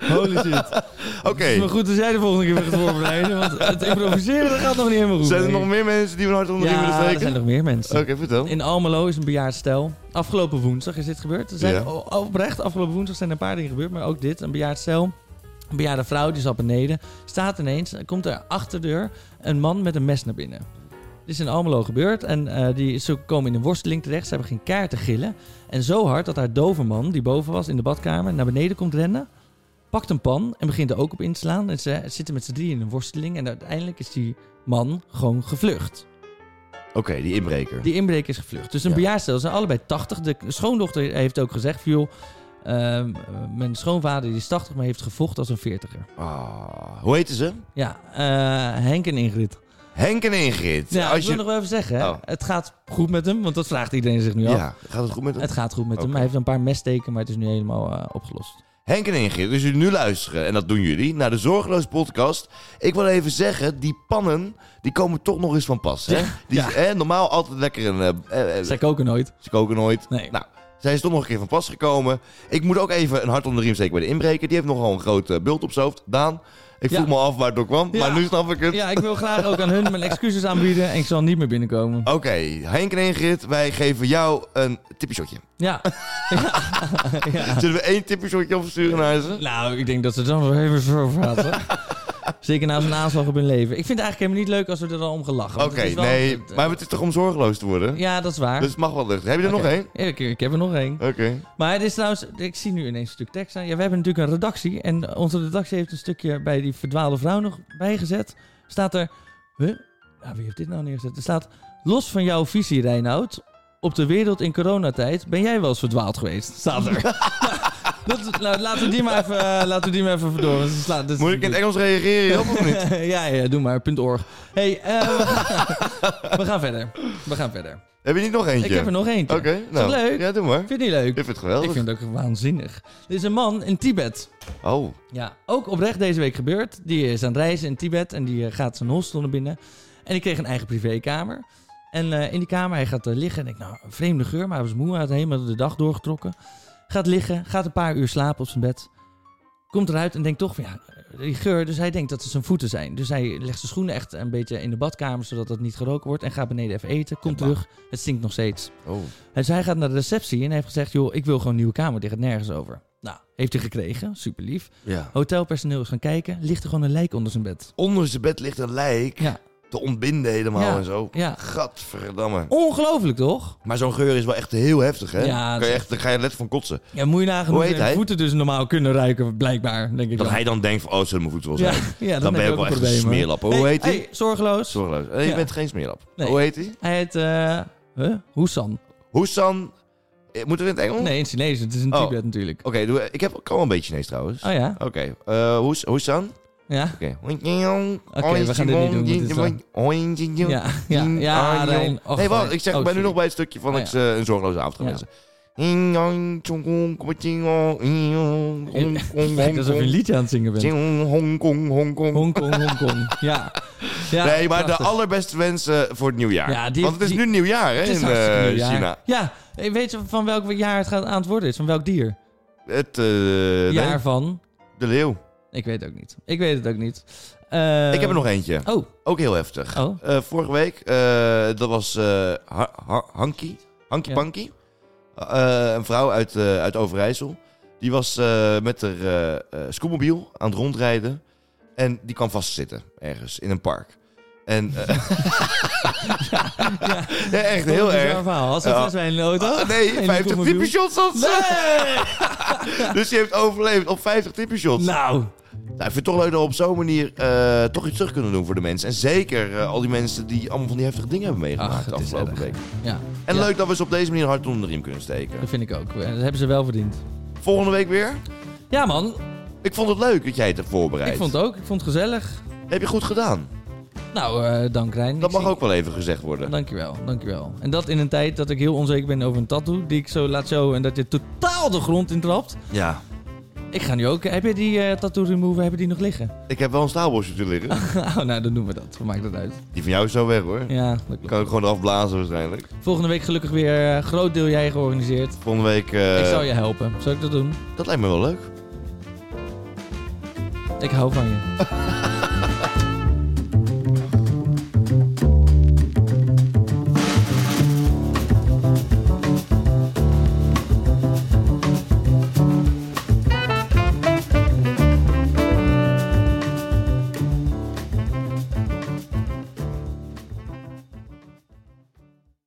B: Holy shit. Het is
A: Oké.
B: maar goed dat jij de volgende keer weer gaat voorbereiden, want het improviseren dat gaat nog niet helemaal goed.
A: Zijn er
B: nee.
A: nog meer mensen die we hard onder de riem
B: Ja,
A: willen
B: er zijn
A: steken?
B: nog meer mensen.
A: Oké, vertel.
B: In Almelo is een bejaard stel. Afgelopen woensdag is dit gebeurd. Er zijn
A: Ja.
B: o- oprecht, afgelopen woensdag zijn er een paar dingen gebeurd, maar ook dit. Een bejaard stel. Een bejaarde vrouw die zat beneden. Staat ineens, komt er achter de deur een man met een mes naar binnen. Dit is in Almelo gebeurd en eh, die, ze komen in een worsteling terecht. Ze hebben geen kaart te gillen. En zo hard dat haar dove man, die boven was in de badkamer, naar beneden komt rennen. Pakt een pan en begint er ook op in te slaan. En ze zitten met z'n drieën in een worsteling. En uiteindelijk is die man gewoon gevlucht.
A: Oké, die inbreker.
B: Die inbreker is gevlucht. Dus een
A: Ja.
B: bejaardstel zijn allebei 80. De schoondochter heeft ook gezegd: van, joh, ehm, mijn schoonvader die is 80, maar heeft gevochten als een 40er.
A: Ah, hoe heten ze?
B: Ja, eh, Henk en Ingrid.
A: Henk en Ingrid.
B: Ja, ik
A: Als
B: wil nog
A: je...
B: wel even zeggen: hè,
A: Oh.
B: het gaat goed met hem, want dat vraagt iedereen zich nu af.
A: Ja, gaat het goed met hem?
B: Het gaat goed met hem.
A: Oké.
B: Hij heeft een paar messteken, maar het is nu helemaal eh, opgelost.
A: Henk en Ingrid, dus jullie nu luisteren, en dat doen jullie, naar de Zorgeloos Podcast. Ik wil even zeggen, die pannen, die komen toch nog eens van pas. Hè?
B: Ja,
A: die,
B: ja.
A: hè, normaal altijd lekker een... eh, eh, eh,
B: Zij koken nooit.
A: ze koken nooit.
B: Nee.
A: Nou, zij is toch nog een keer van pas gekomen. Ik moet ook even een hart onder de riem steken bij de inbreker. Die heeft nogal een grote bult op zijn hoofd. Daan, ik
B: Ja.
A: vroeg me af waar het door kwam,
B: Ja.
A: maar nu snap ik het.
B: Ja, ik wil graag ook aan hun mijn excuses aanbieden en ik zal niet meer binnenkomen.
A: Oké, Henk en Ingrid, wij geven jou een tippieshotje.
B: Ja. ja.
A: Zullen we één tippieshotje opsturen naar ze?
B: Nou, ik denk dat ze dan wel even zo praten. Zeker na zo'n aanslag op hun leven. Ik vind het eigenlijk helemaal niet leuk als we er dan om gelachen.
A: Oké,
B: want het is wel-
A: nee,
B: het, eh,
A: maar het is toch om zorgeloos te worden?
B: Ja, dat is waar.
A: Dus het mag wel lucht. Heb je er
B: Oké.
A: nog één?
B: Ja, ik, ik heb er nog één.
A: Oké.
B: Maar het is trouwens, ik zie nu ineens een stuk tekst aan. Ja, we hebben natuurlijk een redactie. En onze redactie heeft een stukje bij die verdwaalde vrouw nog bijgezet. Staat er. Huh? Ja, wie heeft dit nou neergezet? Er staat. Los van jouw visie, Reinoud. Op de wereld in coronatijd ben jij wel eens verdwaald geweest. Staat er. Dat, nou, laten we die maar even, eh, laten we die maar even verdoren. want ze slaan- dit is
A: Moet ik in het Engels reageren? Job, of niet?
B: ja, ja, doe maar. Punt org. hey, eh, we, gaan, we gaan verder. We gaan verder.
A: Heb je niet nog eentje?
B: Ik heb er nog eentje.
A: Oké,
B: dat
A: nou.
B: leuk?
A: Ja, doe maar.
B: Ik vind die leuk.
A: Ik vind het geweldig.
B: Ik vind het ook waanzinnig. Er is een man in Tibet.
A: Oh,
B: Ja, ook oprecht deze week gebeurd. Die is aan het reizen in Tibet en die eh, gaat zijn hostel naar binnen. En die kreeg een eigen privékamer. En eh, in die kamer, hij gaat eh, liggen en ik, nou, een vreemde geur, maar hij was moe. Hij had helemaal de dag doorgetrokken. Gaat liggen, gaat een paar uur slapen op zijn bed. Komt eruit en denkt toch van ja, die geur. Dus hij denkt dat het zijn voeten zijn. Dus hij legt zijn schoenen echt een beetje in de badkamer, zodat dat niet geroken wordt. En gaat beneden even eten, komt
A: Het mag.
B: terug. Het stinkt nog steeds.
A: oh.
B: En zij gaat naar de receptie en heeft gezegd: joh, ik wil gewoon een nieuwe kamer. Dit gaat nergens over. Nou, heeft hij gekregen. Super lief.
A: Ja.
B: Hotelpersoneel is gaan kijken. Ligt er gewoon een lijk onder zijn bed.
A: Onder zijn bed ligt een lijk.
B: Ja.
A: Te ontbinden helemaal
B: Ja.
A: en zo.
B: Ja. Oh.
A: Gadverdamme.
B: Ongelooflijk toch?
A: Maar zo'n geur is wel echt heel heftig, hè?
B: Ja,
A: kan
B: dat-
A: je echt, daar ga je net van kotsen.
B: Ja, moet je nagaan
A: Hoe
B: hoe
A: heet
B: zijn
A: hij?
B: voeten dus normaal kunnen ruiken, blijkbaar. Denk ik
A: Dat
B: dan.
A: hij dan denkt van, oh, dat moet mijn voet wel
B: ja,
A: zijn.
B: ja,
A: Dan ben je
B: heb
A: ook wel echt een
B: problemen.
A: smeerlap. Hoe heet hij?
B: Hey, zorgeloos.
A: Zorgeloos. Eh, Je
B: Ja.
A: bent geen smeerlap.
B: Nee.
A: Hoe heet hij?
B: Hij heet. eh huh? Hoesan.
A: Oh. Hoesan... Eh, Moet het in het Engels?
B: Nee, in Chinees. Het is in
A: Oh.
B: Tibet natuurlijk.
A: Oké, doe- ik heb ook al een beetje Chinees trouwens.
B: Oh ja.
A: Oké, eh, Hoes- Hoesan?
B: Ja.
A: Oké.
B: Oké, we gaan dit niet doen, want dit is lang.
A: doen.
B: Ja, ja, ja, Rijn. Och,
A: nee, wacht,
B: Rijn.
A: ik zeg,
B: Oh,
A: ik ben nu
B: sorry.
A: nog bij het stukje van
B: Oh,
A: ik, eh, een zorgeloze avond gaan
B: Ja.
A: wensen. Hongkong,
B: Het lijkt alsof je een liedje aan het zingen bent.
A: Hongkong, Hongkong.
B: Hongkong, Hongkong. Ja. ja.
A: Nee, maar de
B: prachtig.
A: allerbeste wensen eh, voor het nieuwjaar.
B: Ja, die-
A: Want het is
B: die-
A: nu nieuwjaar hè,
B: Het is
A: in
B: hartstikke
A: eh,
B: nieuwjaar.
A: China.
B: Ja, eh, weet je van welk jaar het gaat, aan het worden is? Van welk dier?
A: Het eh, nee,
B: jaar van?
A: de leeuw.
B: Ik weet het ook niet. Ik weet het ook niet. Eh,
A: Ik heb er nog eentje.
B: Oh,
A: Ook heel heftig.
B: oh.
A: Eh, vorige week, eh, dat was eh, Ha- Ha- Hanky, Hanky
B: Ja.
A: Panky. Eh, een vrouw uit, eh, uit Overijssel. Die was eh, met haar eh, eh, scootmobiel aan het rondrijden. En die kwam vastzitten ergens in een park. En eh,
B: Ja,
A: ja, echt heel
B: Bizar
A: erg.
B: Verhaal. Als het
A: Ja.
B: was bij een auto.
A: Ah, nee,
B: En die
A: 50
B: komt met
A: type shots had ze. dus die heeft overleefd op 50 type shots.
B: Nou,
A: Nou, ik vind het toch leuk dat we op zo'n manier eh, toch iets terug kunnen doen voor de mensen. En zeker eh, al die mensen die allemaal van die heftige dingen hebben meegemaakt
B: Ach,
A: de
B: het is
A: afgelopen week.
B: ja.
A: En
B: Ja,
A: leuk dat we ze op deze manier hard onder de riem kunnen steken.
B: Dat vind ik ook. Eh, Dat hebben ze wel verdiend.
A: Volgende week weer.
B: Ja, man.
A: Ik vond het leuk dat jij het hebt voorbereid.
B: Ik vond het ook. Ik vond het gezellig.
A: Heb je goed gedaan.
B: Nou, eh dank Rijn.
A: Dat
B: Ik
A: mag
B: zie- Nou.
A: ook wel even gezegd worden.
B: Dankjewel, dankjewel. En dat in een tijd dat ik heel onzeker ben over een tattoo die ik zo laat showen en dat je totaal de grond intrapt.
A: Ja.
B: Ik ga nu ook. Heb je die eh, tattoo remover? Heb je die nog liggen?
A: Ik heb wel een staalbosje te liggen.
B: Oh, nou, dan doen we dat. We maken dat uit.
A: Die van jou is zo weg hoor.
B: Ja, dat klopt.
A: Kan ik gewoon eraf blazen waarschijnlijk.
B: Volgende week gelukkig weer eh, groot deel jij georganiseerd.
A: Volgende week... eh,
B: Ik zal je helpen. Zal ik dat doen?
A: Dat lijkt me wel leuk.
B: Ik hou van je.